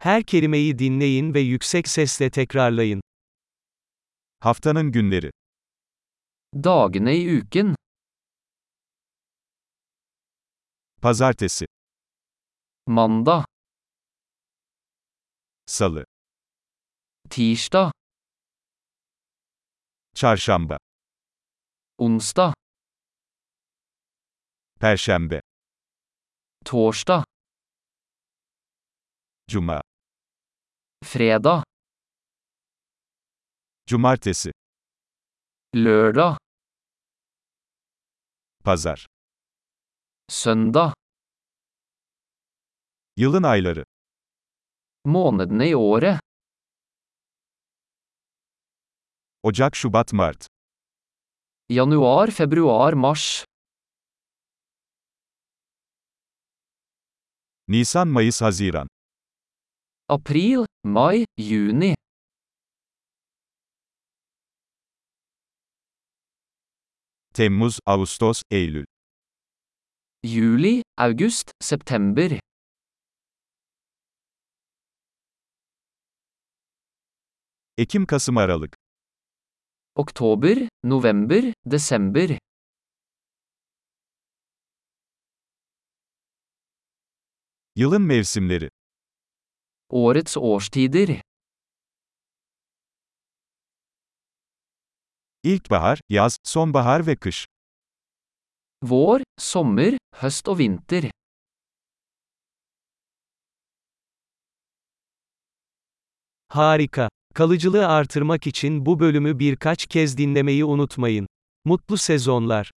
Her kelimeyi dinleyin ve yüksek sesle tekrarlayın. Haftanın günleri. Dagene i uken. Pazartesi, Mandag, salı, tirsdag, çarşamba, onsdag, perşembe, torsdag, cuma, fredag, cumartesi, lørdag, pazar. søndag. Yılın ayları. Månedene i året. Ocak, Şubat, Mart. Januar, februar, mars. Nisan, Mayıs, Haziran. April, mai, juni. Temmuz, Ağustos, Eylül. Juli, august, september. Ekim, Kasım, Aralık. Oktober, november, desember. Yılın mevsimleri. Årets årstider. İlkbahar, yaz, sonbahar ve kış. Vår, sommer, høst og vinter. Harika. Kalıcılığı artırmak için bu bölümü birkaç kez dinlemeyi unutmayın. Mutlu sezonlar.